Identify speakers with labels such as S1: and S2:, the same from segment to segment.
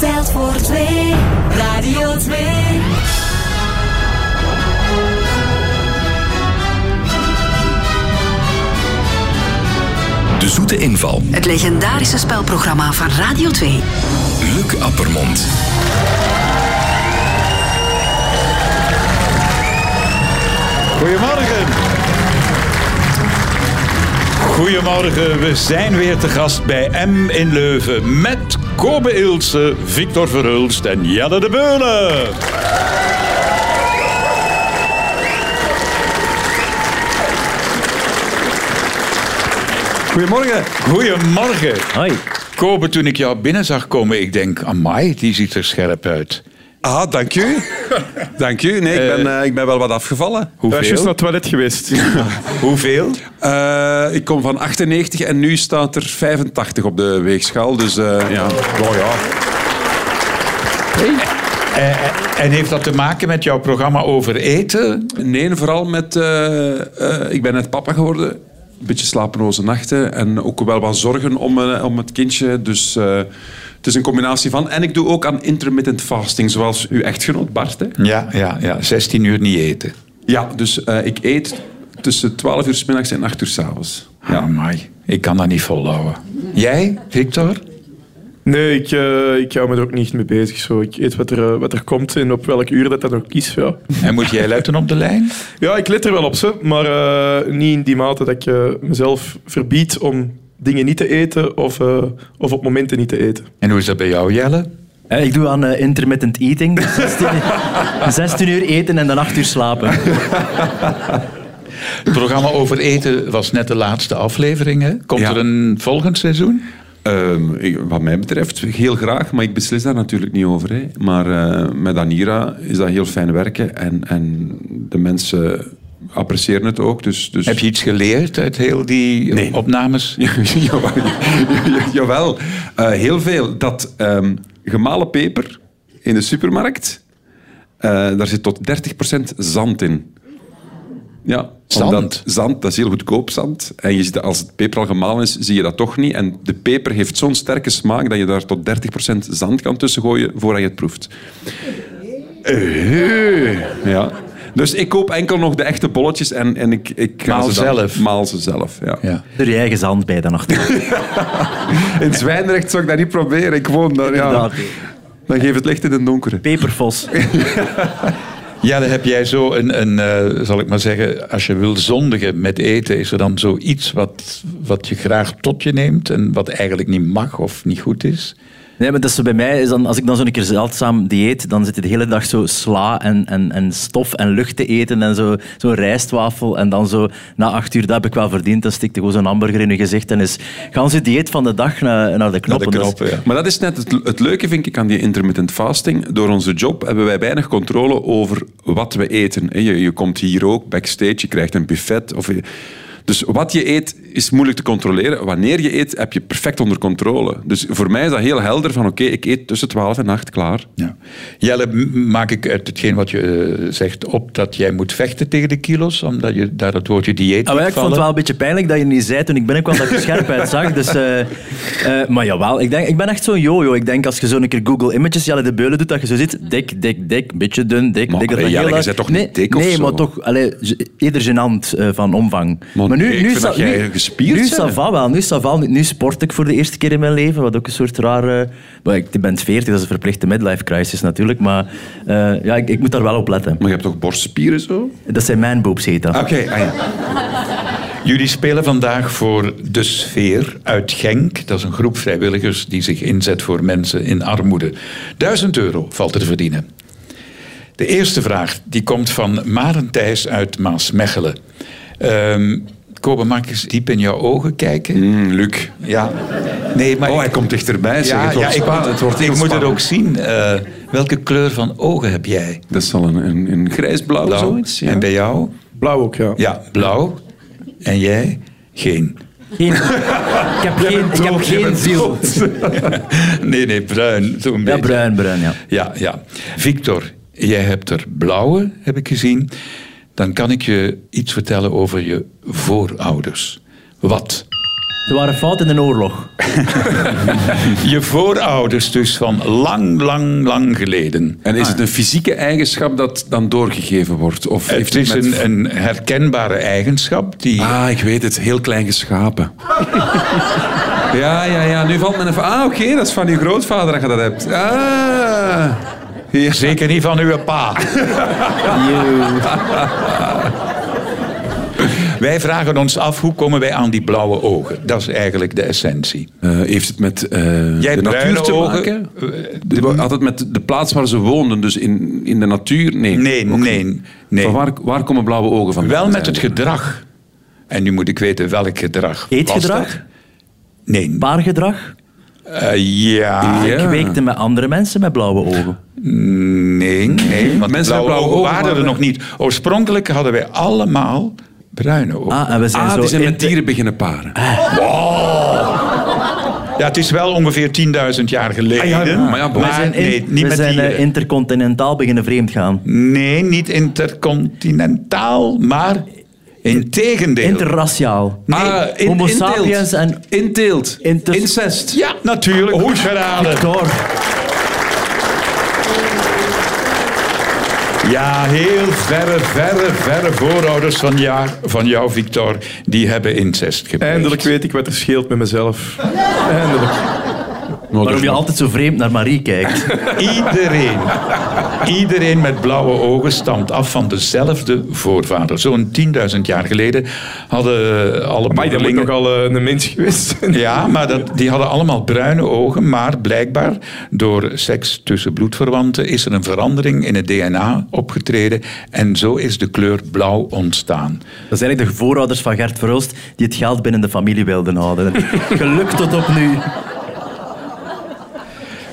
S1: Zand voor twee, Radio 2.
S2: De zoete inval.
S3: Het legendarische spelprogramma van Radio 2.
S2: Luc Appermond.
S4: Goedemorgen. Goedemorgen, we zijn weer te gast bij M in Leuven met Kobe Ilse, Victor Verhulst en Jelle de Beule.
S5: Goedemorgen.
S4: Goedemorgen.
S5: Hoi.
S4: Kobe, toen ik jou binnen zag komen, ik denk, amai, die ziet er scherp uit.
S5: Ah, dank u. Dank u. Nee, ik ben, eh, ik ben wel wat afgevallen.
S6: Ik was
S4: Hoeveel?
S6: juist naar het toilet geweest.
S4: Hoeveel?
S5: Eh, ik kom van 98 en nu staat er 85 op de weegschaal. Dus eh, ja. Oh, ja.
S4: Eh, en heeft dat te maken met jouw programma over eten?
S5: Nee, vooral met... eh, eh, ik ben net papa geworden. Een beetje slapeloze nachten. En ook wel wat zorgen om, eh, om het kindje. Dus eh, het is een combinatie van... En ik doe ook aan intermittent fasting, zoals uw echtgenoot Bart. Hè?
S4: Ja, ja, ja. 16 uur niet eten.
S5: Ja, dus eh, ik eet tussen 12 uur s middags en 8 uur s'avonds.
S4: Ja, amai. Ik kan dat niet volhouden. Jij, Victor?
S6: Nee, ik, eh, ik hou me er ook niet mee bezig. Zo. Ik eet wat er, eh, wat er komt en op welk uur dat dat ook is. Ja,
S4: En moet jij letten op de lijn?
S6: ja ik let er wel op, ze, maar eh, niet in die mate dat ik eh, mezelf verbied om dingen niet te eten of, eh, of op momenten niet te eten.
S4: En hoe is dat bij jou, Jelle?
S7: Eh, Ik doe aan eh, intermittent eating. Dus 16, uur- 16 uur eten en dan 8 uur slapen.
S4: Het programma over eten was net de laatste aflevering. Hè? Komt
S5: Ja.
S4: er een volgend seizoen?
S5: Ehm, ik- wat mij betreft heel graag, maar ik beslis daar natuurlijk niet over. Hè. Maar eh, met Anira is dat heel fijn werken en, en de mensen appreciëren het ook. Dus, dus...
S4: Heb je iets geleerd uit heel die
S5: Nee.
S4: opnames?
S5: jawel, jawel. Eh, heel veel. Dat ehm, gemalen peper in de supermarkt, eh, daar zit tot 30% zand in. Ja,
S4: Zand?
S5: omdat zand, dat is heel goedkoop zand. En je ziet, dat als het peper al gemalen is, zie je dat toch niet. En de peper heeft zo'n sterke smaak dat je daar tot 30% zand kan tussen gooien voordat je het proeft. Eh, Ja. Dus ik koop enkel nog de echte bolletjes en, en ik, ik ga
S4: Maal
S5: ze dan-
S4: zelf.
S5: Maal ze zelf, ja.
S4: Ja.
S7: Er je eigen zand bij dan achter.
S5: In Zwijndrecht zou ik dat niet proberen. Ik woon daar, ja.
S7: Inderdaad.
S5: Dan geef het licht in de donkere.
S7: Peperfos.
S4: Ja, dan heb jij zo een, een eh, zal ik maar zeggen, als je wil zondigen met eten, is er dan zoiets wat, wat je graag tot je neemt en wat eigenlijk niet mag of niet goed is?
S7: Nee, maar dat is zo bij mij is dan, als ik dan zo'n keer zeldzaam dieet, dan zit je de hele dag zo sla en, en, en stof en lucht te eten en zo- zo'n rijstwafel. En dan zo na 8 uur, dat heb ik wel verdiend, dan stikt er gewoon zo'n hamburger in je gezicht en is gans je dieet van de dag naar, naar de knoppen. Dus Dat is-
S4: knoppen,
S5: Maar dat is net het, het leuke, vind ik, aan die intermittent fasting. Door onze job hebben wij weinig controle over wat we eten. hè. Je, je komt hier ook backstage, je krijgt een buffet. Of je- dus wat je eet is moeilijk te controleren. Wanneer je eet, heb je perfect onder controle. Dus voor mij is dat heel helder van, oké, ik eet tussen 12 en 8, klaar.
S4: Ja. Jelle, m- maak ik uit hetgeen wat je eh, zegt op dat jij moet vechten tegen de kilo's, omdat je daar het woordje dieet
S7: Ah, wel,
S4: liet
S7: ik vond het
S4: vallen?
S7: wel een beetje pijnlijk dat je niet zei toen ik binnenkwam dat ik er scherp uitzag. Dus, eh, eh, maar jawel, ik, denk, ik ben echt zo'n yo-yo. Ik denk als je zo'n keer Google Images Jelle de Beulen doet, dat je zo zit, dik, dik, dik, beetje dun, dik,
S5: Maar,
S7: dik. Dat
S5: allee,
S7: dat
S5: Jelle,
S7: heel
S5: je
S7: erg-
S5: bent toch
S7: nee,
S5: niet dik of
S7: Nee,
S5: zo?
S7: maar toch allee, z- eerder gênant eh, van omvang.
S5: Maar
S7: maar
S5: nee, ik vind
S7: sta-
S5: dat jij
S7: nu-
S5: gespierd
S7: nu
S5: bent.
S7: sta- va wel, nu sta va. Nu, nu sport ik voor de eerste keer in mijn leven, wat ook een soort rare... Maar ik ben 40, dat is een verplichte midlife crisis natuurlijk, maar eh, ja, ik, ik moet daar wel op letten.
S5: Maar je hebt toch borstspieren zo?
S7: Dat zijn mijn boobs, heet dat.
S5: Oké, ah ja.
S4: Jullie spelen vandaag voor De Sfeer uit Genk. Dat is een groep vrijwilligers die zich inzet voor mensen in armoede. 1000 euro valt er te verdienen. De eerste vraag die komt van Maren Thijs uit Maasmechelen. Ehm Kobe, mag ik eens diep in jouw ogen kijken?
S5: Mm, Luc.
S4: Ja. Nee, maar
S5: Oh,
S4: ik-
S5: hij komt dichterbij. zeg.
S4: ja,
S5: Het wordt
S4: ja, ik,
S5: spannend. Het wordt
S4: ik
S5: heel
S4: moet het
S5: spannend.
S4: ook zien. Eh, welke kleur van ogen heb jij?
S5: Dat is al een, een, een grijsblauw
S4: Blauw.
S5: zoiets. Ja.
S4: En bij jou?
S6: Blauw ook, ja.
S4: Ja, blauw. En jij? Geen.
S7: Geen- ik heb geen, ik heb geen ziel.
S4: nee, nee, bruin. Zo'n
S7: Ja,
S4: beetje.
S7: bruin, bruin, ja.
S4: Ja, ja. Victor, jij hebt er blauwe, heb ik gezien. Dan kan ik je iets vertellen over je voorouders. Wat
S7: Ze waren fout in een oorlog.
S4: Je voorouders dus van lang, lang, lang geleden.
S5: En is het een fysieke eigenschap dat dan doorgegeven wordt? Of heeft
S4: Ah. Het is
S5: met-
S4: een, een herkenbare eigenschap die...
S5: Ah, ik weet het. Heel klein geschapen. ja, ja, ja. Nu valt men even... Ah, oké. dat is van uw grootvader dat je dat hebt. Ah. Ja.
S4: Zeker niet van uw pa. Wij vragen ons af, hoe komen wij aan die blauwe ogen? Dat is eigenlijk de essentie.
S5: Eh, heeft het met eh,
S4: Jij
S5: de
S4: bruine
S5: natuur te
S4: ogen,
S5: maken?
S4: eh,
S5: De- Had het met de plaats waar ze woonden, dus in, in de natuur? Nee.
S4: Nee,
S5: ook
S4: nee,
S5: niet.
S4: nee.
S5: Van waar, waar komen blauwe ogen van?
S4: Wel met het gedrag. En nu moet ik weten welk gedrag. was dat?
S7: Eetgedrag,
S4: Nee.
S7: paargedrag.
S4: Eh, ja.
S5: Ja.
S7: Ik weekte met andere mensen met blauwe ogen.
S4: Nee, nee.
S5: Mensen
S4: Want blauwe,
S5: met blauwe
S4: ogen
S5: ogen
S4: waren er
S5: waren-
S4: nog niet. Oorspronkelijk hadden wij allemaal bruine ogen.
S7: Ah, en we zijn
S5: Ah,
S7: zo Ah,
S5: die zijn
S7: in
S5: met dieren beginnen paren.
S4: Ja, het is wel ongeveer 10.000 jaar geleden.
S5: Ah, ja, maar ja, bon.
S7: we zijn, in-
S4: nee, niet
S7: we
S4: met
S7: zijn eh,
S4: dieren.
S7: intercontinentaal beginnen vreemd gaan.
S4: Nee, niet intercontinentaal, maar in tegendeel.
S7: Interraciaal.
S4: Nee,
S5: Ah, in-
S7: Homo
S5: in teelt.
S7: sapiens en
S5: In teelt.
S7: Inter-
S5: Incest.
S4: Ja, natuurlijk. Goed geraden.
S7: door.
S4: Ja, heel verre, verre, verre voorouders van, ja, van jou, Victor, die hebben incest gepleegd.
S6: Eindelijk weet ik wat er scheelt met mezelf. Eindelijk.
S7: Waarom je altijd zo vreemd naar Marie kijkt.
S4: Iedereen, iedereen met blauwe ogen stamt af van dezelfde voorvader. Zo'n 10.000 jaar geleden hadden eh, alle
S6: Maar dat moet
S4: boerlingen-
S6: nogal eh, een mens geweest zijn.
S4: Ja, maar dat, die hadden allemaal bruine ogen. Maar blijkbaar door seks tussen bloedverwanten is er een verandering in het DNA opgetreden. En zo is de kleur blauw ontstaan.
S7: Dat zijn eigenlijk de voorouders van Gert Verhulst die het geld binnen de familie wilden houden. Geluk tot op nu.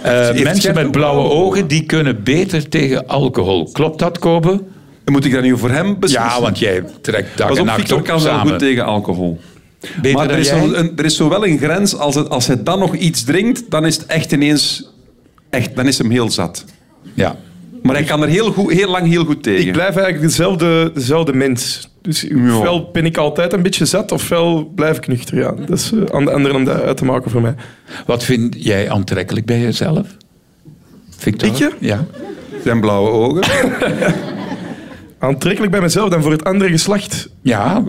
S4: Eh, mensen
S5: Gert
S4: met
S5: ook
S4: blauwe
S5: blauwe
S4: ogen die kunnen beter tegen alcohol. Klopt dat, Kobe?
S5: Moet ik dat nu voor hem beslissen?
S4: Ja, want jij trekt dag
S5: Pas
S4: en
S5: op,
S4: nacht
S5: Victor
S4: op
S5: kan wel
S4: samen.
S5: goed tegen alcohol.
S4: Beter
S5: maar er
S4: dan
S5: is,
S4: jij?
S5: zo- een, er is zowel een grens, als, het, als hij dan nog iets drinkt, dan is het echt ineens... Echt, dan is hem heel zat.
S4: Ja.
S5: Maar hij kan er heel, goed, heel lang heel goed tegen.
S6: Ik blijf eigenlijk dezelfde, dezelfde mens. Dus ofwel ben ik altijd een beetje zat, ofwel blijf ik nuchter. Ja. Dat is eh, aan de anderen om dat uit te maken voor mij.
S4: Wat vind jij aantrekkelijk bij jezelf? Victor?
S6: Ik je?
S4: Ja.
S5: Zijn blauwe ogen.
S6: Aantrekkelijk bij mezelf dan voor het andere geslacht.
S4: Ja.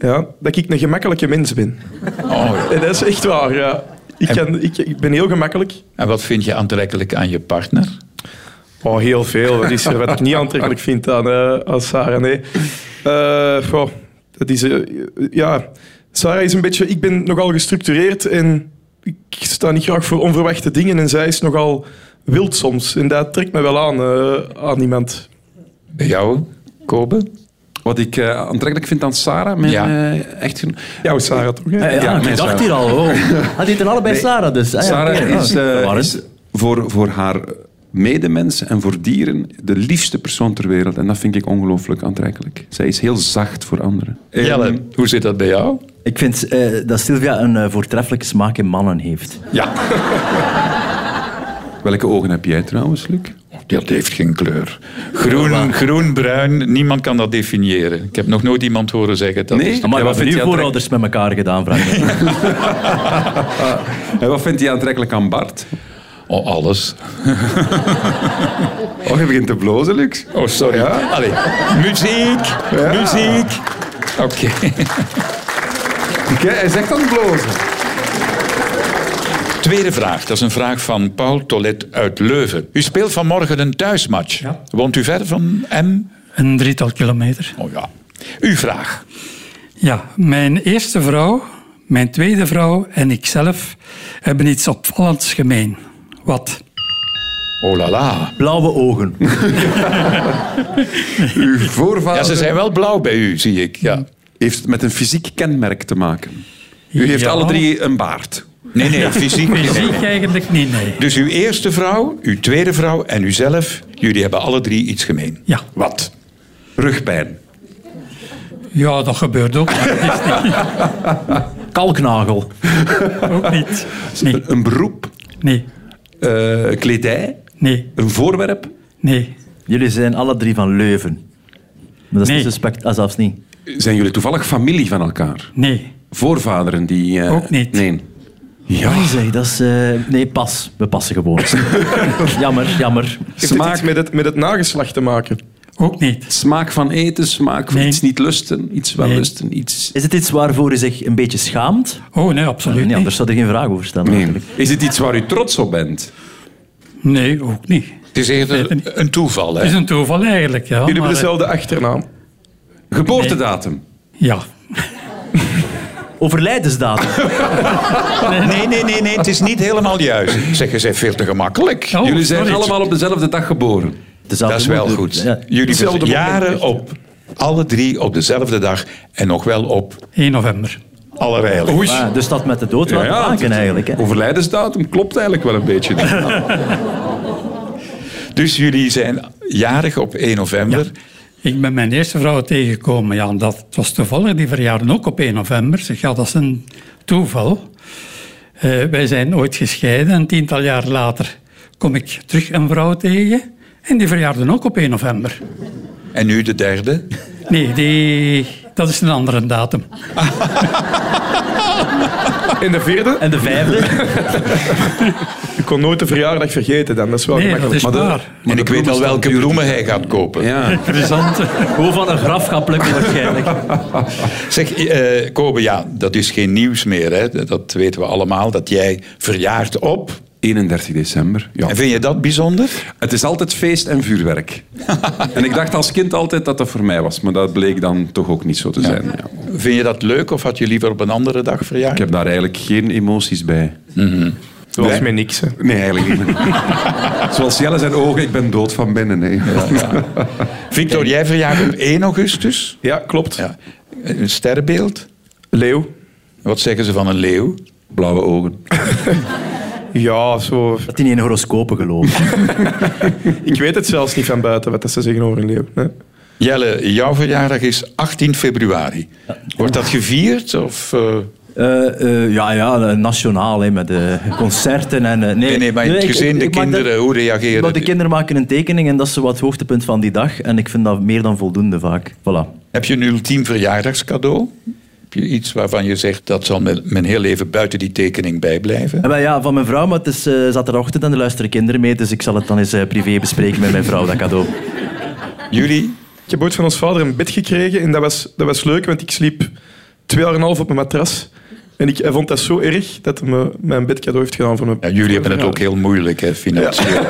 S6: Ja, dat ik een gemakkelijke mens ben.
S4: Oh,
S6: En dat is echt waar, ja. Ik, kan, ik, ik ben heel gemakkelijk.
S4: en wat vind je aantrekkelijk aan je partner?
S6: Oh, heel veel. Wat is er wat ik niet aantrekkelijk vind aan, eh, aan Sarah? Nee. Eh, goh, dat is... eh, ja, Sarah is een beetje... Ik ben nogal gestructureerd en ik sta niet graag voor onverwachte dingen. En zij is nogal wild soms. En dat trekt me wel aan, eh, aan iemand.
S4: Bij jou, Kobe?
S5: Wat ik eh, aantrekkelijk vind aan Sarah, mijn
S4: Ja.
S5: eh, echtgenoot.
S6: Jouw Sarah toch? hè?
S7: Eh, ja,
S5: Ja,
S7: ik
S5: mijn
S7: dacht
S5: Sarah.
S7: hier al. Oh. Had dit er allebei Sarah dus? Ah, ja, oké,
S5: Sarah
S7: ja.
S5: is,
S7: Dat
S5: eh,
S7: waren
S5: is
S7: het.
S5: voor, voor haar medemens en voor dieren de liefste persoon ter wereld. En dat vind ik ongelooflijk aantrekkelijk. Zij is heel zacht voor anderen. Ehm,
S4: Jelle, hoe zit dat bij jou?
S7: Ik vind eh, dat Sylvia een eh, voortreffelijke smaak in mannen heeft.
S4: Ja.
S5: Welke ogen heb jij trouwens, Luc?
S4: Dat heeft geen kleur. Groen, groen, bruin, niemand kan dat definiëren. Ik heb nog nooit iemand horen zeggen dat.
S5: Nee?
S4: is-
S5: Ja,
S7: Maar
S5: wat
S7: wat
S5: vind
S7: hebben
S5: je
S7: uw voorouders met elkaar gedaan, vraag ik me.
S5: Ah, En wat vindt hij aantrekkelijk aan Bart?
S4: Oh, alles.
S5: Oh, je begint te blozen, Luc.
S4: Oh, sorry. Allee. Muziek, muziek. Oké.
S5: hij zegt aan het blozen.
S4: Tweede vraag, dat is een vraag van Paul Tolet uit Leuven. U speelt vanmorgen een thuismatch. Woont u ver van M?
S8: Een drietal kilometer.
S4: Oh ja. Uw vraag.
S8: Ja, mijn eerste vrouw, mijn tweede vrouw en ikzelf hebben iets opvallends gemeen. Wat?
S4: Oh la la.
S7: Blauwe ogen.
S5: Uw voorvader
S4: Ja, ze zijn wel blauw bij u, zie ik. Ja.
S5: heeft met een fysiek kenmerk te maken. U heeft
S8: Ja.
S5: alle drie een baard.
S4: Nee, nee, fysiek. niet.
S8: Fysiek eigenlijk niet, nee.
S4: Dus uw eerste vrouw, uw tweede vrouw en uzelf, jullie hebben alle drie iets gemeen.
S8: Ja,
S4: Wat?
S5: Rugpijn.
S8: ja dat gebeurt ook, maar het is
S7: Kalknagel.
S8: ook niet. Nee,
S5: Een beroep.
S8: nee,
S5: eh, kledij.
S8: nee,
S5: Een voorwerp.
S8: nee.
S7: Jullie zijn alle drie van Leuven. Maar dat is
S8: Nee.
S7: niet suspect, ah, zelfs niet.
S5: Zijn jullie toevallig familie van elkaar?
S8: Nee,
S5: voorvaderen die... eh,
S8: Ook niet.
S5: Nee. Ja.
S7: Nee, zeg, Oh, dat is... eh, nee, pas. We passen gewoon. jammer, jammer.
S6: Heeft dit
S5: Smaak.
S6: iets met het, met het nageslacht te
S8: Oh,
S6: maken?
S8: Ook niet.
S5: Smaak van eten, smaak van
S8: Nee.
S5: iets niet lusten, iets wel
S8: Nee.
S5: lusten, iets...
S7: Is het iets waarvoor u zich een beetje schaamt?
S8: Oh nee, absoluut
S7: Nee,
S8: niet.
S7: anders zou er geen vraag over stellen.
S5: Nee.
S7: natuurlijk.
S5: Is het iets waar u trots op bent?
S8: Nee, ook niet.
S4: Het is eerder een toeval.
S8: Het is
S4: Hè?
S8: een toeval eigenlijk. Ja,
S6: Jullie
S8: maar,
S6: hebben dezelfde achternaam.
S5: Geboortedatum?
S8: eh, Ja.
S7: Overlijdensdatum.
S4: Nee, nee, nee, nee, het is niet helemaal juist. Zeggen zij veel te gemakkelijk.
S8: Oh,
S5: Jullie zijn
S8: sorry.
S5: allemaal op dezelfde dag geboren.
S7: Dezelfde
S4: Dat is wel
S7: moeder.
S4: goed.
S7: Ja.
S4: Jullie
S6: Hetzelfde
S4: zijn jaren
S6: moment.
S4: op, alle drie op dezelfde dag en nog wel op
S8: 1 november.
S4: allerlei.
S5: Oei.
S7: Ah, dus dat met de dood wel te maken
S5: het-
S7: eigenlijk. Hè.
S5: Overlijdensdatum klopt eigenlijk wel een beetje.
S4: Dus jullie zijn jarig op 1 november.
S8: Ik ben mijn eerste vrouw tegengekomen. Ja, dat het was toevallig die verjaarden ook op 1 november. Ik Zeg, ja, dat is een toeval. Eh, wij zijn ooit gescheiden. Een tiental jaar later kom ik terug een vrouw tegen. En die verjaarden ook op 1 november.
S4: En nu de derde.
S8: Nee, die, dat is een andere datum.
S6: En de vierde?
S7: En de vijfde?
S6: Ik kon nooit de verjaardag vergeten dan. Dat is wel
S8: Nee, dat
S6: gemakkelijk.
S8: is
S6: Maar de-
S8: waar.
S4: en ik weet al welke bloemen hij gaat kopen.
S5: Ja.
S8: Interessant.
S7: Gewoon van een graf gaan plukken waarschijnlijk.
S4: Zeg, eh Kobe, ja, dat is geen nieuws meer. Hè? Dat weten we allemaal, dat jij verjaart op.
S5: 31 december. Ja.
S4: En vind je dat bijzonder?
S5: Het is altijd feest en vuurwerk. en ik dacht als kind altijd dat dat voor mij was, maar dat bleek dan toch ook niet zo te zijn. Ja.
S4: Vind je dat leuk of had je liever op een andere dag verjaard?
S5: Ik heb daar eigenlijk geen emoties bij.
S6: Dat was mij niks. hè.
S5: Nee, eigenlijk niet. Zoals Jelle zijn ogen, ik ben dood van binnen. hè.
S4: Victor, jij verjaart op 1 augustus.
S6: Ja, klopt.
S4: Ja. Een sterrenbeeld.
S6: Leeuw.
S4: Wat zeggen ze van een leeuw?
S5: Blauwe ogen.
S6: Ja, zo.
S7: Dat die in horoscopen geloven.
S6: Ik weet het zelfs niet van buiten wat dat ze zeggen over een leeuw. Nee.
S4: Jelle, jouw verjaardag is 18 februari. Wordt dat gevierd? Of, eh,
S7: Eh, eh, ja, ja, eh, nationaal, hè, met eh, concerten en... eh, nee,
S4: Nee, nee, maar in het
S7: ik-
S4: gezin,
S7: ik-
S4: de
S7: ik maak dat-
S4: kinderen, hoe reageren
S7: Maar de
S4: die?
S7: kinderen maken een tekening en dat is zo wat het hoogtepunt van die dag. En ik vind dat meer dan voldoende vaak. Voilà.
S4: Heb je een ultiem verjaardagscadeau? Heb je iets waarvan je zegt dat zal mijn mijn heel leven buiten die tekening bijblijven?
S7: Eh, wel ja, van mijn vrouw, maar het is eh, zaterdagochtend en er luisteren kinderen mee. Dus ik zal het dan eens eh, privé bespreken met mijn vrouw, dat cadeau.
S4: Jullie?
S6: Ik heb ooit van ons vader een bed gekregen en dat was, dat was leuk, want ik sliep twee jaar en een half op mijn matras. En ik, hij vond dat zo erg dat hij me mijn bedcadeau heeft gedaan voor mijn...
S4: Ja, jullie hebben het ook heel moeilijk, hè, financieel.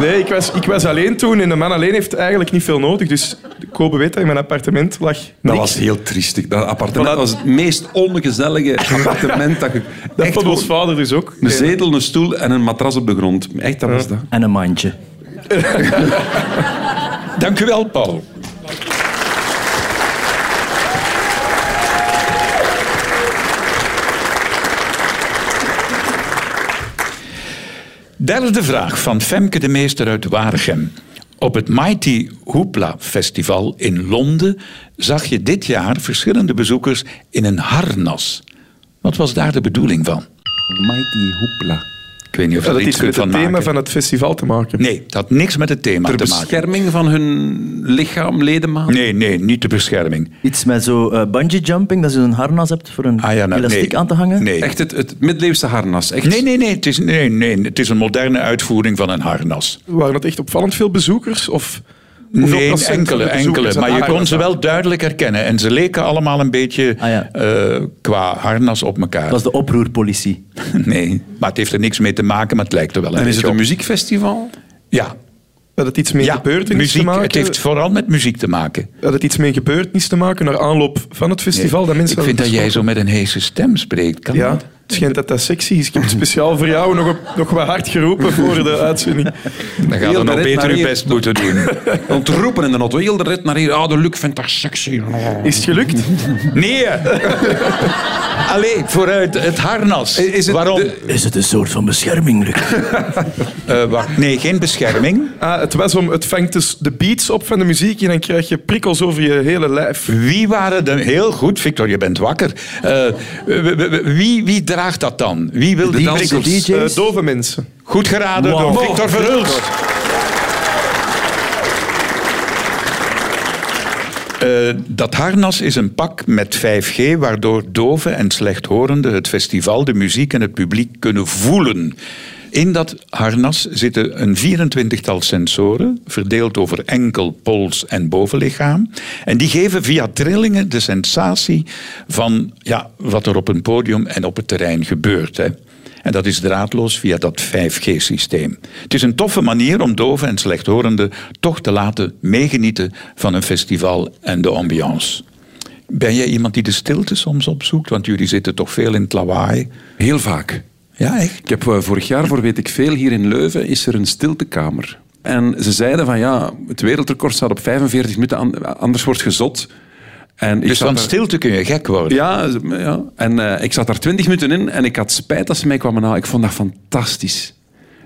S6: Nee, ik was, ik was alleen toen en de man alleen heeft eigenlijk niet veel nodig. Dus Kobe weet dat in mijn appartement lag niks.
S5: Dat was heel triestig. Dat appartement was het meest ongezellige appartement dat ik...
S6: Dat
S5: echt
S6: vond ons
S5: gewoon-
S6: vader dus ook.
S5: Een zetel, een stoel en een matras op de grond. Echt, dat was dat.
S7: En een mandje.
S4: Dank u wel, Paul. Derde vraag van Femke de Meester uit Waregem. Op het Mighty Hoopla Festival in Londen zag je dit jaar verschillende bezoekers in een harnas. Wat was daar de bedoeling van?
S5: Mighty hoepla.
S4: Ik weet niet of
S6: Ja,
S4: je
S6: dat
S4: er
S6: heeft
S4: iets
S6: met
S4: kunt van
S6: het thema
S4: maken.
S6: van het festival te maken.
S4: Nee, het had niks met het thema
S5: Ter
S4: te maken.
S5: bescherming van hun lichaam, ledematen?
S4: Nee, nee, niet de bescherming.
S7: Iets met zo eh, bungee jumping, dat je een harnas hebt voor een
S4: Ah ja, nou,
S7: elastiek
S4: nee.
S7: aan te hangen.
S4: Nee.
S5: Echt het, het middeleeuwse harnas. Echt.
S4: Nee, nee, nee het, is, nee, nee. het is een moderne uitvoering van een harnas.
S6: Waren dat echt opvallend veel bezoekers? Of hoeveel
S4: Nee,
S6: procent van de
S4: enkele,
S6: bezoekers Ah,
S4: enkele.
S6: had
S4: Maar je kon
S6: aangedaan?
S4: ze wel duidelijk herkennen. En ze leken allemaal een beetje
S7: Ah, ja.
S4: eh, qua harnas op elkaar.
S7: Dat is de oproerpolitie.
S4: Nee, maar het heeft er niks mee te maken, maar het lijkt er wel
S5: En is
S4: een
S5: het
S4: beetje
S5: een
S4: op.
S5: muziekfestival?
S4: Ja,
S6: Had het iets mee
S4: ja
S6: gebeurd in
S4: muziek.
S6: te maken?
S4: Het heeft vooral met muziek te maken.
S6: Had het iets mee gebeurtenis te maken naar aanloop van het festival?
S4: Nee.
S6: Dat mensen
S4: Ik vind dat
S6: hadden
S4: jij zo met een heese stem spreekt. Kan
S6: Ja,
S4: dat?
S6: het schijnt dat dat sexy is. Ik heb het speciaal voor jou nog, op, nog wat hard geroepen voor de uitzending.
S4: Dan gaat
S5: Heel
S4: je nog
S5: direct
S4: beter
S5: naar
S4: je
S5: hier.
S4: best moeten doen.
S5: Ontroepen in de auto. Heel de rit naar hier. Ah, de Luc vindt dat sexy.
S6: Is het gelukt?
S4: Nee! Allee, vooruit, het harnas.
S5: Is het
S4: Waarom?
S5: de-
S7: Is het een soort van bescherming, Luc?
S4: Eh, wacht, nee, geen bescherming.
S6: Ah, het was om, het vangt dus de beats op van de muziek en dan krijg je prikkels over je hele lijf.
S4: Wie waren de... Heel goed, Victor, je bent wakker. Eh, w- w- w- wie, wie draagt dat dan? Wie wil die
S5: dansers.
S4: prikkels?
S7: DJ's?
S6: Eh, dove mensen.
S4: Goed geraden
S7: Wow.
S4: door Victor Verhulst. Eh, dat harnas is een pak met 5G, waardoor doven en slechthorenden het festival, de muziek en het publiek kunnen voelen. In dat harnas zitten een 24-tal sensoren, verdeeld over enkel, pols en bovenlichaam. En die geven via trillingen de sensatie van ja, wat er op een podium en op het terrein gebeurt. Hè. En dat is draadloos via dat 5G-systeem. Het is een toffe manier om doven en slechthorenden toch te laten meegenieten van een festival en de ambiance. Ben jij iemand die de stilte soms opzoekt? Want jullie zitten toch veel in het lawaai.
S5: Heel vaak.
S4: Ja, echt?
S5: Ik heb eh, vorig jaar, voor weet ik veel, hier in Leuven is er een stiltekamer. En ze zeiden van ja, het wereldrecord staat op 45 minuten, an- anders wordt gezot. En ik
S4: Dus
S5: zat
S4: van
S5: daar-
S4: stilte kun je gek worden.
S5: Ja, ze- ja. En eh, ik zat daar 20 minuten in en ik had spijt dat ze mij kwamen halen. Ik vond dat fantastisch.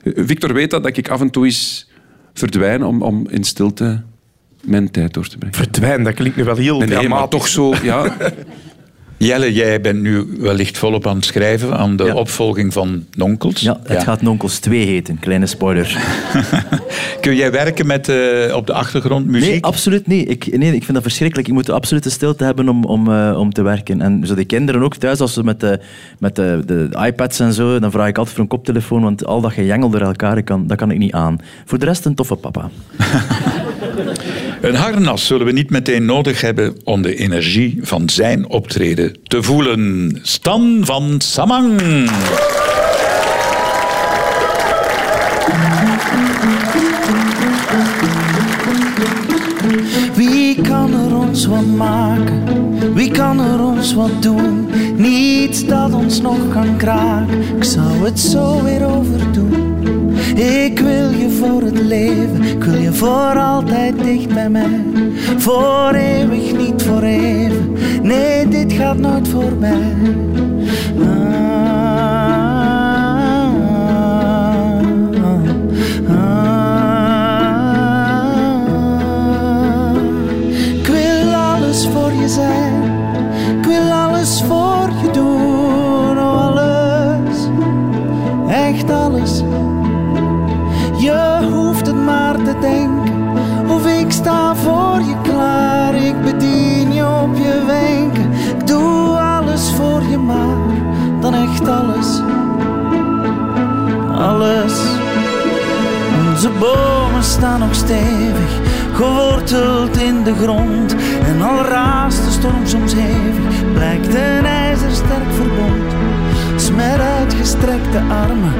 S5: Eh, Victor weet dat, dat ik af en toe eens verdwijn om, om in stilte mijn tijd door te brengen.
S6: Verdwijn, dat klinkt nu wel heel
S5: Nee, nee, maar
S6: dramatisch.
S5: toch zo, ja,
S4: Jelle, jij bent nu wellicht volop aan het schrijven aan de
S7: Ja.
S4: opvolging van Nonkels.
S7: Ja, het
S4: Ja.
S7: gaat Nonkels 2 heten, kleine spoiler.
S4: Kun jij werken met eh, op de achtergrond muziek?
S7: Nee, absoluut niet. Ik, nee, ik vind dat verschrikkelijk. Je moet de absolute stilte hebben om, om, eh, om te werken. En zo de kinderen ook thuis, als ze met, de, met de, de iPads en zo, dan vraag ik altijd voor een koptelefoon, want al dat gejengel door elkaar, ik kan, dat kan ik niet aan. Voor de rest een toffe papa.
S4: Een harnas zullen we niet meteen nodig hebben om de energie van zijn optreden te voelen. Stan van Samang.
S9: Wie kan er ons wat maken? Wie kan er ons wat doen? Niets dat ons nog kan kraken. Ik zou het zo weer overdoen. Ik wil je voor het leven, ik wil je voor altijd dicht bij mij. Voor eeuwig, niet voor even. Nee, dit gaat nooit voorbij. Ah, ah, ah. Ik wil alles voor je zijn, ik wil alles voor je doen, oh, alles, echt alles. Je hoeft het maar te denken, of ik sta voor je klaar. Ik bedien je op je wenken, ik doe alles voor je maar, dan echt alles, alles. Onze bomen staan nog stevig, geworteld in de grond. En al raast de storm soms hevig, blijkt een ijzersterk verbond. Dus met uitgestrekte armen,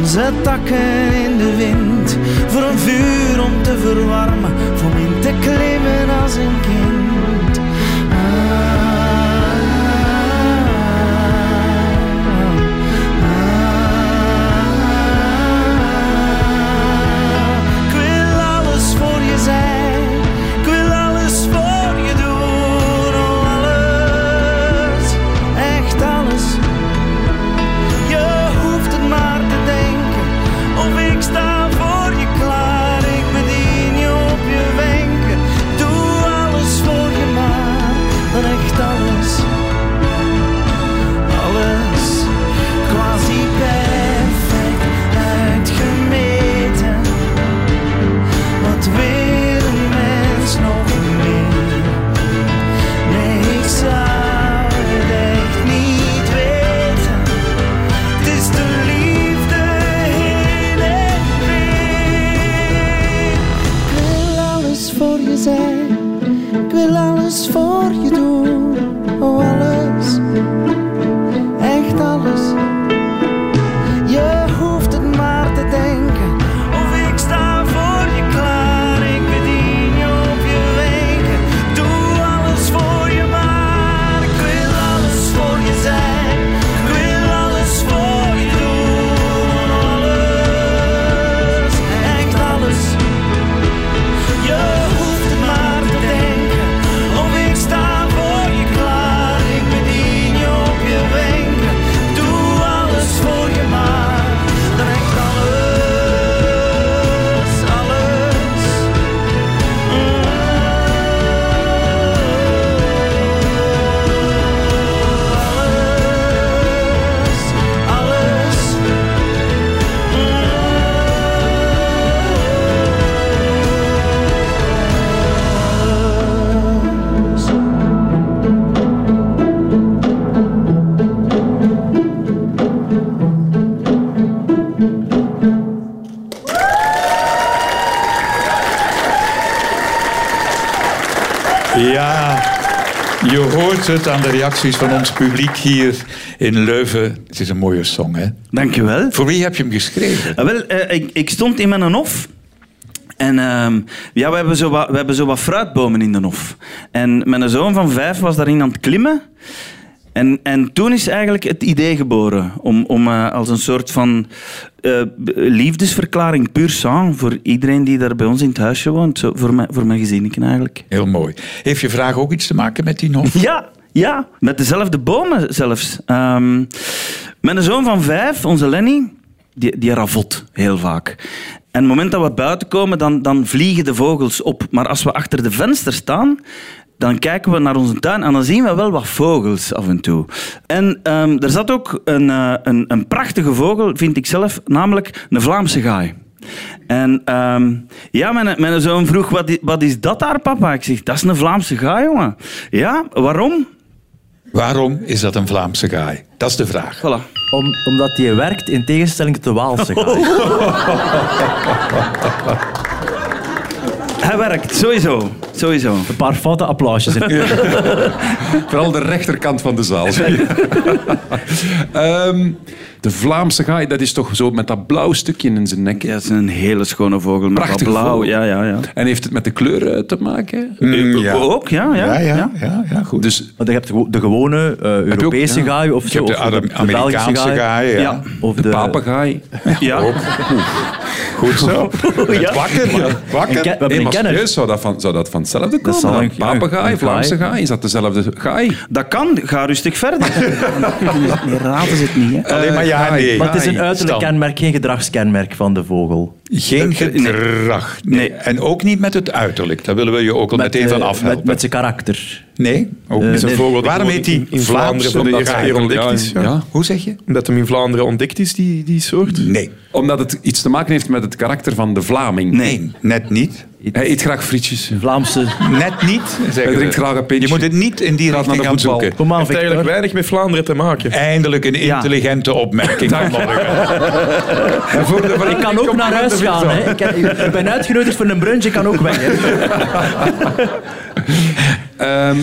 S9: onze takken in de wind. Voor een vuur om te verwarmen, voor in te klimmen als een kind. Ah, ah, Ik wil alles voor je zijn, ik wil alles voor je doen, oh, alles, echt alles. Je hoeft het maar te denken, of ik sta voor je klaar. Ik bedien je op je wenken, doe alles voor Oh,
S4: Ja, je hoort het aan de reacties van ons publiek hier in Leuven. Het is een mooie song, hè?
S9: Dankjewel.
S4: Voor wie heb je hem geschreven?
S9: Ah, wel, eh, ik, ik stond in mijn hof. En ehm, ja, we hebben, zo wat, we hebben zo wat fruitbomen in de hof. En mijn zoon van vijf was daarin aan het klimmen. En, en toen is eigenlijk het idee geboren om, om eh, als een soort van eh, b- liefdesverklaring puur sang voor iedereen die daar bij ons in het huisje woont, zo, voor, mijn, voor mijn gezinnetje eigenlijk.
S4: Heel mooi. Heeft je vraag ook iets te maken met die nog?
S9: Ja, ja, met dezelfde bomen zelfs. Ehm mijn zoon van vijf, onze Lenny, die, die ravot heel vaak. En het moment dat we buiten komen, dan, dan vliegen de vogels op. Maar als we achter de venster staan, dan kijken we naar onze tuin en dan zien we wel wat vogels af en toe. En ehm, er zat ook een, eh, een, een prachtige vogel, vind ik zelf, namelijk een Vlaamse gaai. En ehm, ja, mijn, mijn zoon vroeg, wat is, wat is dat daar, papa? Ik zeg, dat is een Vlaamse gaai, jongen. Ja, waarom?
S4: Waarom is dat een Vlaamse gaai? Dat is de vraag.
S9: Voilà.
S7: Om, omdat die werkt in tegenstelling tot de Waalse gaai.
S9: Hij werkt, sowieso. Sowieso.
S7: Een paar foute applausjes.
S5: Vooral de rechterkant van de zaal. zie je. Ehm, de Vlaamse gaai, dat is toch zo met dat blauw stukje in zijn nek.
S9: Ja, het is een hele schone vogel. Met
S5: Prachtig
S9: wat blauw.
S5: vogel.
S9: Ja, ja, ja.
S5: En heeft het met de kleur eh, te maken?
S4: ja.
S9: Ook, ja, ja.
S4: Ja, ja, Eh, ja, ja, goed.
S5: Dus
S7: Want je hebt de gewo- de gewone eh, Europese
S5: ja.
S7: gaai of
S4: je
S7: zo.
S4: hebt de,
S7: of
S4: Ara- Amerikaanse gaai, ja.
S9: Ja.
S7: Of
S5: de,
S7: de,
S5: papegaai.
S9: Ja.
S4: Goed zo. Het wakker.
S7: En
S4: wakker.
S7: ke- we hebben
S5: Nee,
S7: een
S5: maar
S7: kenner.
S5: serieus, zou dat van, zou dat van hetzelfde komen?
S7: zal
S5: dan?
S7: een- ja,
S5: papegaai,
S7: een
S5: Vlaamse
S7: gaai.
S5: gaai, is dat dezelfde gaai?
S9: Dat kan. Ga rustig verder. Die raden ze het niet, hè.
S4: Alleen maar ja, nee.
S7: Maar het is een uiterlijk
S4: Stan.
S7: kenmerk, geen gedragskenmerk van de vogel.
S4: Geen
S9: Eh, eh, nee.
S4: gedrag. Nee.
S9: Nee.
S4: En ook niet met het uiterlijk. Daar willen we je ook al meteen
S7: eh,
S4: van
S7: Met,
S4: afhelpen.
S7: met zijn karakter.
S4: nee, Oh, ook
S6: is
S4: niet.
S6: een
S7: nee.
S6: vogel die
S4: Waarom
S6: gewoon
S4: heet die
S6: in- in Vlaanderen voor de
S4: Vlaamse
S6: eerste
S4: gaai?
S6: keer ontdekt is. Ja.
S5: ja.
S4: Hoe zeg je?
S6: Omdat hem in Vlaanderen ontdekt is, die, die soort.
S4: Nee.
S5: Omdat het iets te maken heeft met het karakter van de Vlaming.
S4: Nee, net niet.
S5: Hij eet graag frietjes. Hij
S7: Vlaamse...
S4: Net niet, zeggen we.
S5: drinkt graag een pintje.
S4: Je moet het niet in die
S5: Gaat naar
S4: richting
S5: de
S4: gaan
S5: voetbal.
S4: zoeken.
S7: Kom aan,
S6: heeft eigenlijk
S7: Victor.
S6: weinig met Vlaanderen te maken.
S4: Eindelijk een intelligente opmerking van Morgen.
S7: Ik kan ook naar huis gaan. Hè. Ik, heb- ik ben uitgenodigd voor een brunch, ik kan ook weg. Hè.
S5: Ehm,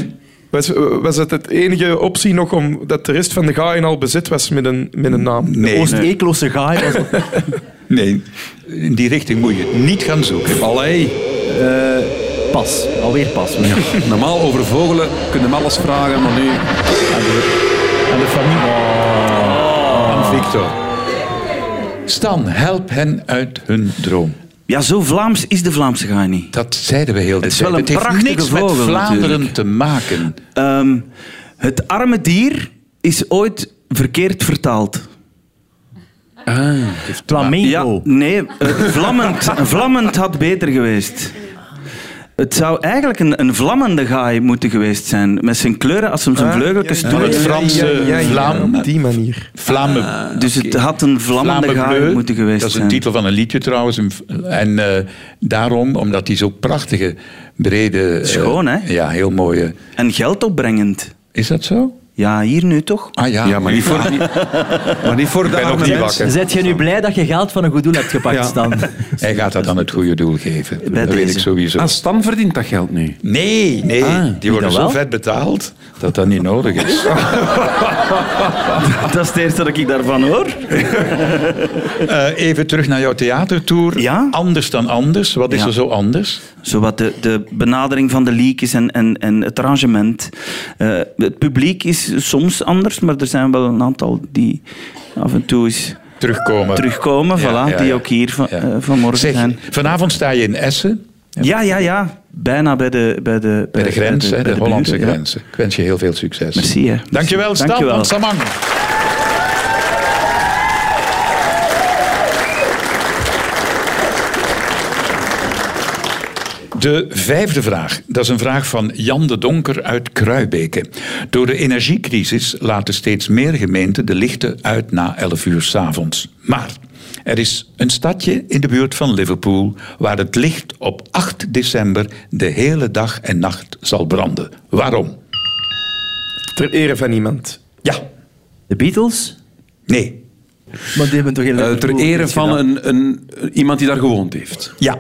S6: Was, eh, was het het enige optie nog om dat de rest van de gaaien al bezet was met een, met een naam?
S4: Nee, nee,
S7: Oost-Eeklosse gaai. was-
S4: nee, in die richting moet je het niet gaan zoeken.
S5: allee,
S7: Pas, alweer pas. hoor.
S5: normaal over vogelen kunnen we alles vragen, maar nu...
S7: En de familie.
S9: Oh.
S4: Victor. Stan, help hen uit hun droom.
S9: Ja, zo Vlaams is de Vlaamse gaai niet.
S4: Dat zeiden we heel de
S9: Het is wel
S4: tijd.
S9: een
S4: Het heeft
S9: prachtige
S4: niks met
S9: vogel,
S4: Vlaanderen
S9: natuurlijk.
S4: te maken.
S9: Ehm, het arme dier is ooit verkeerd vertaald.
S4: Ah.
S7: Flamingo.
S9: Ja, nee, eh, vlammend, vlammend had beter geweest. Het zou eigenlijk een, een vlammende gaai moeten geweest zijn. Met zijn kleuren als hem zijn vleugeltjes
S4: Ah, ja, ja,
S9: toeliet.
S4: het Franse Vlaam.
S6: Op die manier.
S4: Vlamen,
S9: Dus het had een vlammende
S4: Vlamen
S9: gaai
S4: Bleu,
S9: moeten geweest
S4: Dat is een
S9: zijn.
S4: titel van een liedje trouwens. En, en eh, daarom, omdat die zo prachtige, brede... eh,
S9: Schoon, hè?
S4: Ja, heel mooie...
S9: En geld opbrengend.
S4: Is dat zo?
S9: Ja, hier nu toch?
S4: Ah ja.
S5: Ja, maar niet voor, niet, maar niet voor de
S4: ben ook
S5: arme
S4: niet
S5: mensen.
S7: Zet je nu blij dat je geld van een goed doel hebt gepakt, Stan?
S4: Hij gaat dat aan het goede doel geven.
S9: Bij
S4: dat weet
S9: deze.
S4: ik sowieso.
S5: Ah, Stan verdient dat geld nu.
S4: Nee, nee. die worden zo
S7: dan wel?
S4: vet betaald dat dat niet nodig is.
S9: Dat is het eerste dat ik daarvan hoor.
S4: Eh, even terug naar jouw theatertour.
S9: Ja?
S4: Anders dan anders. Wat is
S9: Ja.
S4: er zo anders?
S9: Zowat de, de benadering van de liedjes en, en, en het arrangement. Eh, het publiek is soms anders, maar er zijn wel een aantal die af en toe eens
S4: Terugkomen.
S9: terugkomen.
S4: Ja,
S9: voilà,
S4: ja,
S9: die
S4: ja.
S9: ook hier van,
S4: Ja.
S9: eh, vanmorgen
S4: Zeg,
S9: zijn.
S4: vanavond sta je in Essen,
S9: Ja, ja, ja. Bijna bij de, bij de,
S4: bij de grens,
S9: bij
S4: hè, de,
S9: bij
S4: Hollandse
S9: buren, ja.
S4: grens. Ik wens je heel veel succes.
S9: Merci, hè.
S4: Dankjewel,
S9: Merci.
S4: Stan
S9: Dankjewel.
S4: van Samang. De vijfde vraag, dat is een vraag van Jan de Donker uit Kruibeke. Door de energiecrisis laten steeds meer gemeenten de lichten uit na 11 uur 's avonds. Maar er is een stadje in de buurt van Liverpool waar het licht op 8 december de hele dag en nacht zal branden. Waarom?
S6: Ter ere van iemand.
S4: Ja,
S7: De Beatles?
S4: nee,
S7: Maar die hebben toch heel
S5: Eh, ter ere van een, een, iemand die daar gewoond heeft.
S4: ja,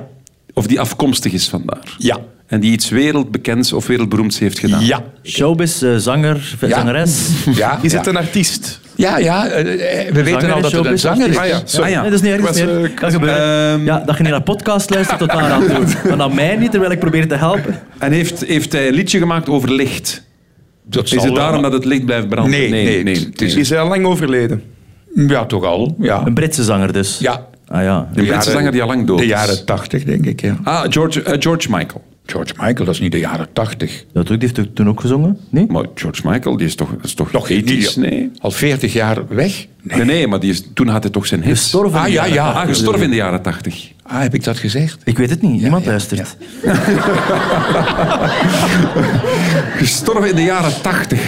S5: Of die afkomstig is vandaar.
S4: ja.
S5: en die iets wereldbekends of wereldberoemds heeft gedaan.
S4: Ja.
S7: Showbiz, eh, zanger, v-
S4: Ja.
S7: zangeres.
S4: Ja,
S6: Is
S4: ja.
S6: het een artiest?
S4: ja, ja, eh, eh, we weten al dat het een
S7: showbiz,
S4: zanger is.
S7: artiest.
S5: Ah ja, sorry.
S7: Nee, dat is niet erg. Dat, is
S6: Was,
S7: niet erg.
S6: eh,
S7: Dat gebeurt.
S5: Ehm,
S7: ja, dat je niet naar podcast luistert tot daar aan toe. Maar naar mij niet, terwijl ik probeer te helpen.
S5: En heeft, heeft hij een liedje gemaakt over licht?
S4: Dat
S5: Is
S4: zal
S5: het
S4: wel. eh,
S5: daarom dat het licht blijft branden?
S4: Nee, nee, het is-
S5: nee.
S6: Is hij al lang overleden?
S4: Ja, toch al. Ja.
S7: Een Britse zanger dus.
S4: ja.
S7: Ah ja.
S5: De Britse
S4: jaren-
S5: zanger die al lang dood
S4: De
S5: is.
S4: jaren tachtig, denk ik. Ja.
S5: Ah, George, eh, George Michael.
S4: George Michael, dat is niet de jaren tachtig.
S7: Dat ook, die heeft toen ook gezongen? Nee?
S5: Maar George Michael, die is toch, is toch
S4: Nog niet.
S5: 80s? Nee.
S4: Al 40 jaar weg?
S5: Nee, nee, maar die is, toen had hij toch zijn hits.
S7: Gestorven in
S5: Ah,
S7: de
S5: ja,
S7: jaren
S5: ja.
S7: 80.
S5: Ah, gestorven in de jaren tachtig.
S4: Ah, heb ik dat gezegd?
S7: Ik weet het niet, niemand luistert.
S5: Gestorven in de jaren tachtig.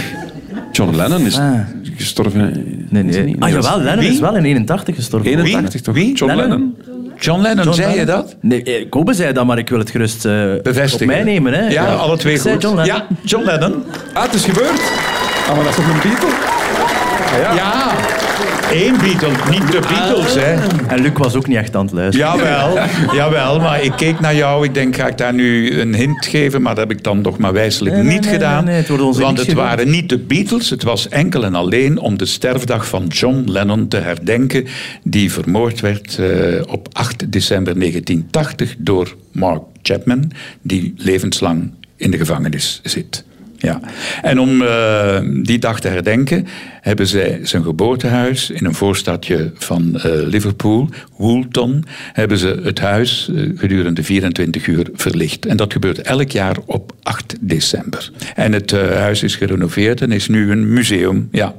S5: John Lennon is
S7: Ah.
S5: gestorven... eh,
S7: Nee,
S5: is
S7: nee.
S5: hij niet?
S7: Ah jawel,
S5: dat is-
S7: Lennon is wel in 81 gestorven.
S5: 81 toch?
S4: Wie?
S5: John Lennon.
S7: Lennon.
S4: John Lennon,
S7: John
S4: zei je
S7: Lennon.
S4: dat?
S7: Nee, eh, Kobe zei dat, maar ik wil het gerust eh,
S4: Bevestigen.
S7: op mij nemen. Hè.
S4: Ja, alle twee
S7: ik zei
S4: goed.
S7: John Lennon.
S4: Ja, John Lennon.
S5: Ah, het is gebeurd. Ah, maar dat is toch een Beatle?
S4: Ja. Ah. Eén Beatle, niet de Beatles, hè.
S7: En Luc was ook niet echt aan het luisteren.
S4: Jawel, jawel, maar ik keek naar jou. Ik denk, ga ik daar nu een hint geven? Maar dat heb ik dan toch maar wijselijk
S7: Nee, nee,
S4: niet
S7: nee,
S4: gedaan.
S7: nee, nee, het wordt ons
S4: want
S7: niks
S4: het
S7: gebeurd.
S4: waren niet de Beatles. Het was enkel en alleen om de sterfdag van John Lennon te herdenken. Die vermoord werd eh, op 8 december 1980 door Mark Chapman. Die levenslang in de gevangenis zit. Ja. En om eh, die dag te herdenken hebben zij zijn geboortehuis in een voorstadje van eh, Liverpool, Woolton, hebben ze het huis eh, gedurende 24 uur verlicht. En dat gebeurt elk jaar op 8 december. En het eh, huis is gerenoveerd en is nu een museum. Ja.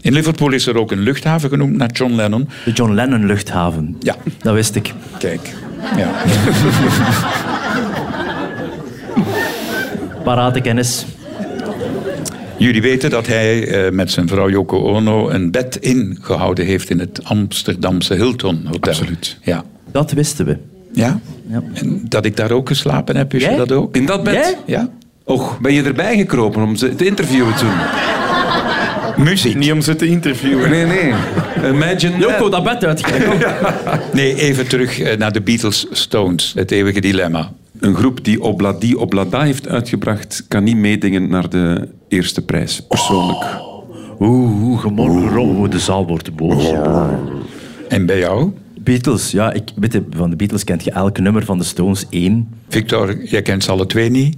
S4: In Liverpool is er ook een luchthaven genoemd naar John Lennon.
S7: De John Lennon luchthaven.
S4: Ja.
S7: Dat wist ik.
S4: Kijk. Ja.
S7: Parate kennis.
S4: Jullie weten dat hij eh, met zijn vrouw Yoko Ono een bed ingehouden heeft in het Amsterdamse Hilton Hotel.
S5: Absoluut.
S4: Ja.
S7: Dat wisten we.
S4: Ja?
S7: Ja.
S4: En dat ik daar ook geslapen heb, wist
S7: Jij?
S4: je dat ook?
S5: In dat bed?
S7: Jij?
S4: Ja.
S5: Och, ben je erbij gekropen om ze te interviewen toen?
S4: Muziek.
S6: Niet om ze te interviewen.
S5: Nee, nee. Imagine
S7: Joko,
S5: that.
S7: dat bed uitgelegd.
S4: Nee, even terug eh, naar de Beatles Stones. Het eeuwige dilemma.
S5: Een groep die Obladi Oblada heeft uitgebracht, kan niet meedingen naar de eerste prijs, persoonlijk.
S7: Oeh, oeh, gemorgen. Oeh, de zaal wordt boos.
S4: En bij jou?
S7: Beatles, ja, ik, weet je, van de Beatles kent je elk nummer van de Stones één.
S4: Victor, jij kent ze alle twee niet.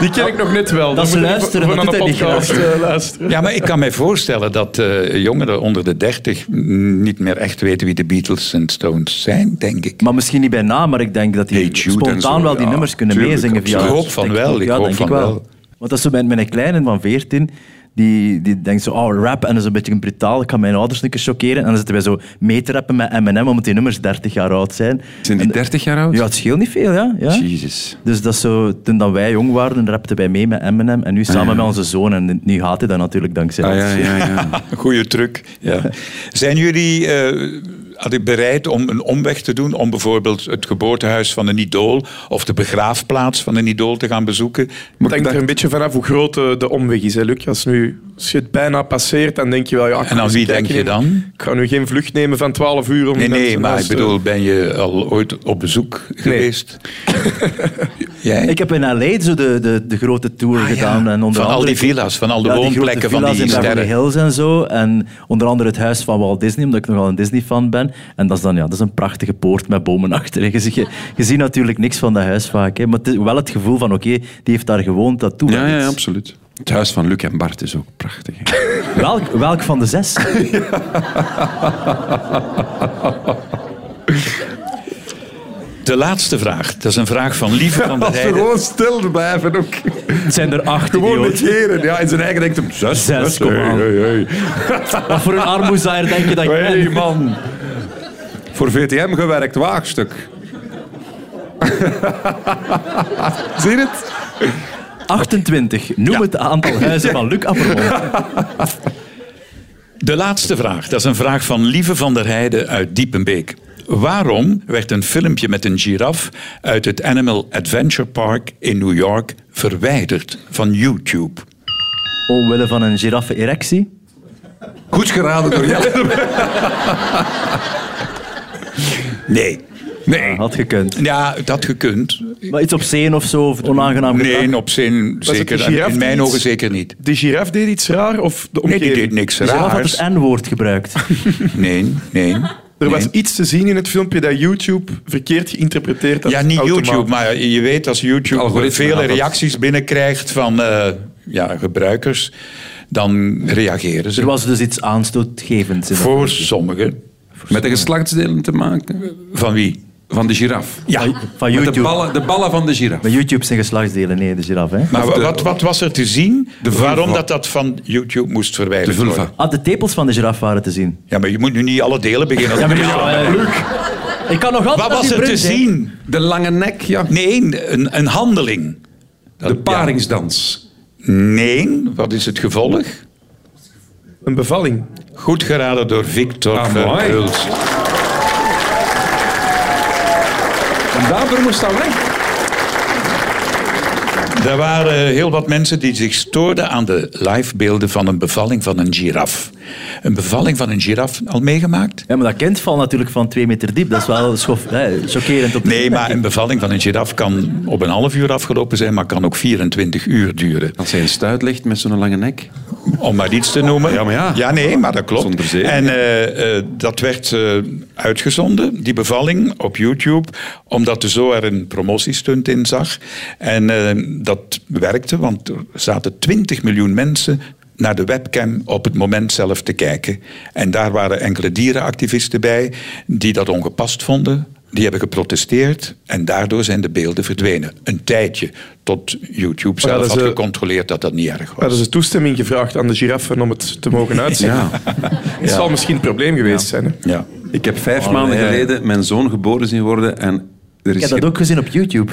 S6: Die ken ik nog net wel.
S7: Dat
S6: Dan
S7: is
S6: moet ik
S7: luisteren,
S6: voor-
S7: dat
S6: voor
S7: doet
S6: naar de
S7: hij niet
S6: podcast, eh, luisteren.
S4: Ja, maar ik kan mij voorstellen dat eh, jongeren onder de dertig niet meer echt weten wie de Beatles en Stones zijn, denk ik.
S7: Maar misschien niet bij naam, maar ik denk dat die
S5: Hey Jude en zo,
S7: spontaan wel die
S5: ja,
S7: nummers kunnen
S5: tuurlijk,
S7: meezingen. Via
S4: absoluut. Ik hoop van
S7: TikTok.
S4: wel, ik
S7: ja,
S4: hoop
S7: denk
S4: van
S7: ik wel.
S4: wel.
S7: Want dat is zo met mijn kleine van 14, die, die denkt zo, oh rap, en dat is een beetje een brutaal, ik ga mijn ouders een keer chockeren. En dan zitten wij zo mee te rappen met Eminem, omdat die nummers 30 jaar oud zijn.
S5: Zijn die 30 jaar oud?
S7: Ja, het scheelt niet veel, ja. ja.
S5: Jezus.
S7: Dus dat is zo, toen dat wij jong waren, rapten wij mee met Eminem en nu samen met onze zoon. En nu haat hij dat natuurlijk dankzij
S5: Ah,
S7: ons.
S5: ja, ja, ja.
S4: Goeie truc. Ja. Zijn jullie eh, hadden bereid om een omweg te doen om bijvoorbeeld het geboortehuis van een idool of de begraafplaats van een idool te gaan bezoeken?
S6: Het hangt er een beetje vanaf hoe groot eh, de omweg is, hè, Luc. Als, nu, als je het bijna passeert, dan denk je wel... Ja, ik
S4: En
S6: ga
S4: aan
S6: eens
S4: wie
S6: kijken
S4: denk je
S6: in-
S4: dan?
S6: Ik ga nu geen vlucht nemen van 12 uur. Om
S4: Nee,
S6: naar
S4: nee,
S6: zijn
S4: maar
S6: huis
S4: ik
S6: te-
S4: bedoel, ben je al ooit op bezoek geweest? Jij?
S7: Ik heb in L.A. zo de, de, de grote tour
S4: Ah, ja.
S7: gedaan. En onder
S4: van al
S7: andere-
S4: die villa's, van al de
S7: Ja, die
S4: woonplekken
S7: grote
S4: van
S7: villa's
S4: die
S7: in Beverly
S4: sterren.
S7: Hills en zo. En onder andere het huis van Walt Disney, omdat ik nogal een Disney-fan ben. En dat is dan ja, dat is een prachtige poort met bomen achter. Je, ziet- je, je ziet natuurlijk niks van dat huis vaak. Hè. Maar het is wel het gevoel van, oké, die heeft daar gewoond, dat doet
S5: ja,
S7: wel
S5: ja, ja,
S7: iets.
S5: absoluut. Het huis van Luc en Bart is ook prachtig. hè.
S7: Welk, welk van de zes?
S4: De laatste vraag, dat is een vraag van Lieve van der Heijden.
S5: stil blijven ook.
S7: Het zijn er acht, idioot.
S5: negeren. Ja, in zijn eigen denkt hem, zes,
S7: Zes, kom aan. Wat voor een armoezaaier denk je dat ik ben?
S5: Hey man. Voor VTM gewerkt, waagstuk. Zie je het?
S7: 28. Noem het aantal huizen van Luc Appermond.
S4: De laatste vraag, dat is een vraag van Lieve van der Heijden uit Diepenbeek. Waarom werd een filmpje met een giraf uit het Animal Adventure Park in New York verwijderd van YouTube?
S7: Omwille van een giraffen-erectie.
S5: Goed geraden door jou.
S4: Nee.
S5: Nee.
S7: Had gekund.
S4: Ja, dat gekund.
S7: Maar iets op zee of zo, of onaangenaam gedrag?
S4: Nee, op zin
S6: het
S4: zeker.
S6: de
S4: en
S6: giraf
S4: In
S6: die
S4: mijn
S6: iets-
S4: ogen zeker niet.
S6: De giraf deed iets raar of de
S4: Nee,
S6: omgeving?
S4: die deed niks
S7: Dus Raaf had
S4: raars.
S7: het N-woord gebruikt.
S4: Nee, nee.
S6: Er was
S4: Nee.
S6: iets te zien in het filmpje dat YouTube verkeerd geïnterpreteerd had.
S4: Ja, niet
S6: automatisch.
S4: YouTube, maar je weet als YouTube
S5: Algoritme,
S4: vele
S5: ja, dat-
S4: reacties binnenkrijgt van eh, ja, gebruikers, dan reageren
S7: Er
S4: ze.
S7: was dus iets aanstootgevends. in dat.
S4: Voor sommigen.
S5: Met de geslachtsdelen te maken
S4: Van wie?
S5: van de giraf.
S4: Ja.
S7: Van
S5: Met de
S7: YouTube.
S5: ballen, de ballen van de giraf.
S7: Bij YouTube zijn geslachtsdelen, nee, de giraf. Hè?
S4: Maar
S5: Of de-
S4: wat, wat was er te zien
S5: vulva.
S4: waarom dat, dat van YouTube moest
S5: De
S4: verwijderd
S5: vulva.
S4: worden?
S7: Ah, de tepels van de giraf waren te zien.
S4: Ja, maar je moet nu niet alle delen beginnen.
S7: eh, Ik kan nog altijd
S4: Wat
S7: naar
S4: was
S7: die
S4: er te
S7: brug, hè.
S4: zien?
S5: De lange nek, ja.
S4: Nee, een, een handeling. Dat-
S5: De paringsdans.
S4: ja. Nee, wat is het gevolg?
S6: Een bevalling.
S4: Goed geraden door Victor
S5: Ah, mooi.
S4: Verhulst.
S5: En daarvoor moest dat weg.
S4: Er waren heel wat mensen die zich stoorden aan de livebeelden van een bevalling van een giraf. Een bevalling van een giraf al meegemaakt?
S7: Ja, maar dat kind valt natuurlijk van twee meter diep. Dat is wel schof, hè, chockerend op de
S4: Nee, maar een bevalling van een giraf kan op een half uur afgelopen zijn, maar kan ook 24 uur duren.
S5: Als hij een stuit ligt met zo'n lange nek.
S4: Om maar iets te noemen.
S5: Ja, maar ja.
S4: nee, maar dat klopt.
S5: Zonder zeven.
S4: En eh, eh, dat werd eh, uitgezonden, die bevalling, op YouTube. Omdat de zo er een promotiestunt in zag. En eh, dat werkte, want er zaten 20 miljoen mensen naar de webcam op het moment zelf te kijken. En daar waren enkele dierenactivisten bij die dat ongepast vonden. Die hebben geprotesteerd en daardoor zijn de beelden verdwenen. Een tijdje, tot YouTube zelf
S6: dat is,
S4: had
S6: eh,
S4: gecontroleerd dat dat niet erg was.
S6: Hadden ze toestemming gevraagd aan de giraffen om het te mogen uitzien?
S5: Ja.
S6: Het zal misschien een probleem geweest zijn. Hè?
S4: Ja.
S5: Ik heb vijf
S7: Allee.
S5: maanden geleden mijn zoon geboren zien worden en er
S7: Ik
S5: is,
S7: heb dat
S5: geen,
S7: ook gezien op YouTube.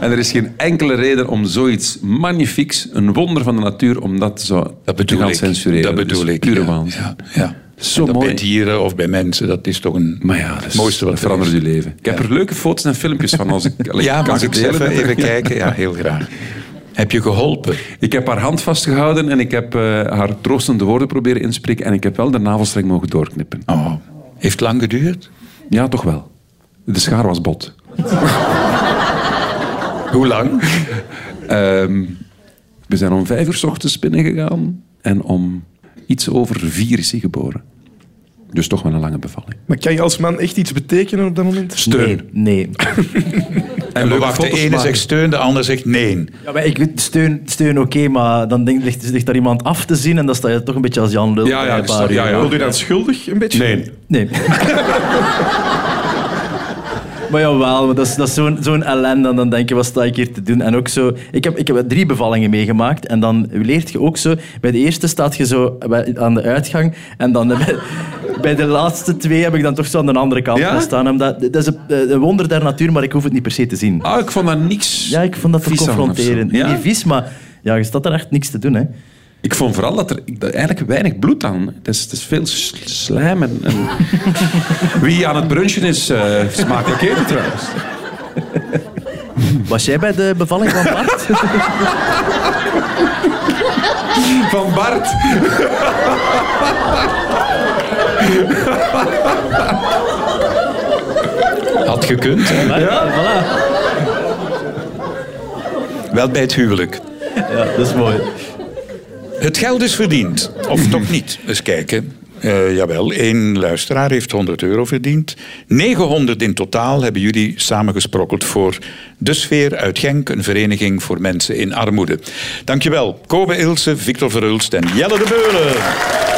S5: en er is geen enkele reden om zoiets magnifieks, een wonder van de natuur, om dat zo
S4: Dat
S5: te
S4: bedoel
S5: gaan
S4: ik.
S5: censureren.
S4: Dat bedoel
S5: Dus
S4: ik.
S5: Pure
S4: ja.
S5: waanzin.
S4: Ja, ja.
S5: Zo
S4: dat
S5: mooi.
S4: Bij dieren of bij mensen, dat is toch een
S5: Maar ja, dat is-
S4: mooiste wat
S5: dat
S4: er
S5: verandert
S4: is.
S5: je leven. Ik heb er leuke foto's en filmpjes van als ik... allee,
S4: Ja,
S5: kan
S4: mag
S5: ze
S4: ik
S5: delen?
S4: zelf even kijken? Ja, heel graag. Heb je geholpen?
S5: Ik heb haar hand vastgehouden en ik heb eh, haar troostende woorden proberen inspreken en ik heb wel de navelstreng mogen doorknippen.
S4: Oh, heeft het lang geduurd?
S5: Ja, toch wel. De schaar was bot.
S4: Hoe lang?
S5: Ehm, we zijn om vijf uur 's ochtends binnengegaan en om iets over vier is hij geboren. Dus toch wel een lange bevalling.
S6: Maar kan je als man echt iets betekenen op dat moment?
S7: Nee, nee.
S5: En
S4: We wachten, de ene zegt steun, de ander zegt nee.
S7: Ja, maar ik weet, steun, steun oké, maar dan denk, ligt, ligt daar iemand af te zien en dan sta je toch een beetje als Jan Lul.
S5: Ja, ja,
S7: bij een
S5: ik sta-
S7: paar
S5: ja,
S7: uur.
S5: ja.
S6: Voelt u dan schuldig een beetje?
S5: Nee.
S7: Nee. Maar jawel, maar dat is, dat is zo'n zo'n ellende. En dan denk je, wat sta ik hier te doen? En ook zo, ik heb, ik heb drie bevallingen meegemaakt. En dan leert je ook zo... Bij de eerste staat je zo bij- aan de uitgang. En dan eh, bij, bij de laatste twee heb ik dan toch zo aan de andere kant
S5: Ja?
S7: gaan staan. Omdat, dat is een, eh, een wonder der natuur, maar ik hoef het niet per se te zien.
S5: Ah, ik vond dat niks
S7: Ja, ik vond dat toch
S5: vies aan of zo.
S7: confronterend.
S5: Ja?
S7: Niet vies, maar ja, je staat er echt niks te doen. Hè.
S5: Ik vond vooral dat er dat er eigenlijk weinig bloed aan... Het is, het is veel s- slijm en... en- Wie aan het brunchen is, eh smakelijk eten trouwens.
S7: Was jij bij de bevalling van Bart?
S5: Van Bart.
S4: Had gekund. hè?
S7: ja, voilà.
S4: Wel bij het huwelijk.
S7: Ja, dat is mooi.
S4: Het geld is verdiend. Of toch niet? Eens kijken. Eh, jawel, één luisteraar heeft 100 euro verdiend. 900 in totaal hebben jullie samengesprokkeld voor De Sfeer uit Genk, een vereniging voor mensen in armoede. Dankjewel, Kobe Ilse, Victor Verhulst en Jelle de Beulen.